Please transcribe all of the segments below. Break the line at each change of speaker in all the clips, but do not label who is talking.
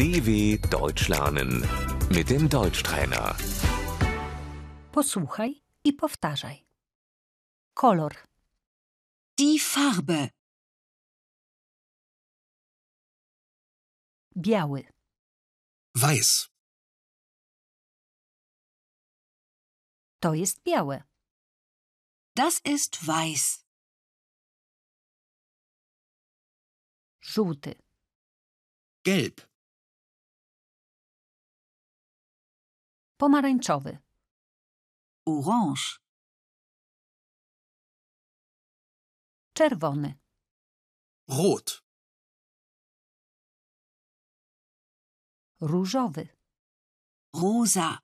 DW Deutsch lernen mit dem Deutschtrainer.
Posłuchaj i powtarzaj. Kolor,
Die Farbe.
biały,
Weiß.
to jest białe,
Das ist weiß.
żółty,
Gelb.
pomarańczowy,
Orange.
czerwony,
Rot.
różowy,
Rosa.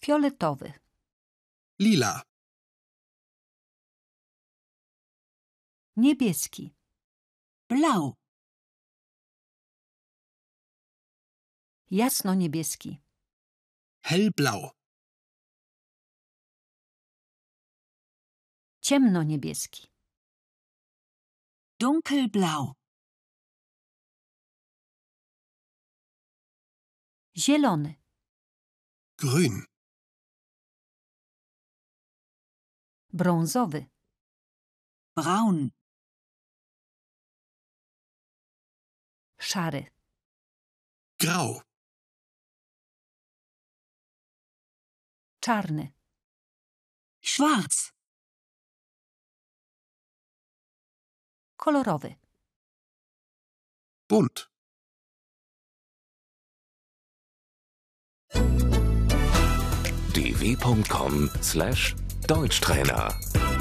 fioletowy,
Lila.
niebieski,
Blau.
jasno-niebieski,
Hellblau.
ciemno-niebieski,
Dunkelblau.
zielony,
Grün.
brązowy,
Braun.
szary,
Grau.
czarny,
Schwarz.
kolorowy,
Bunt.
dw.com/deutschtrainer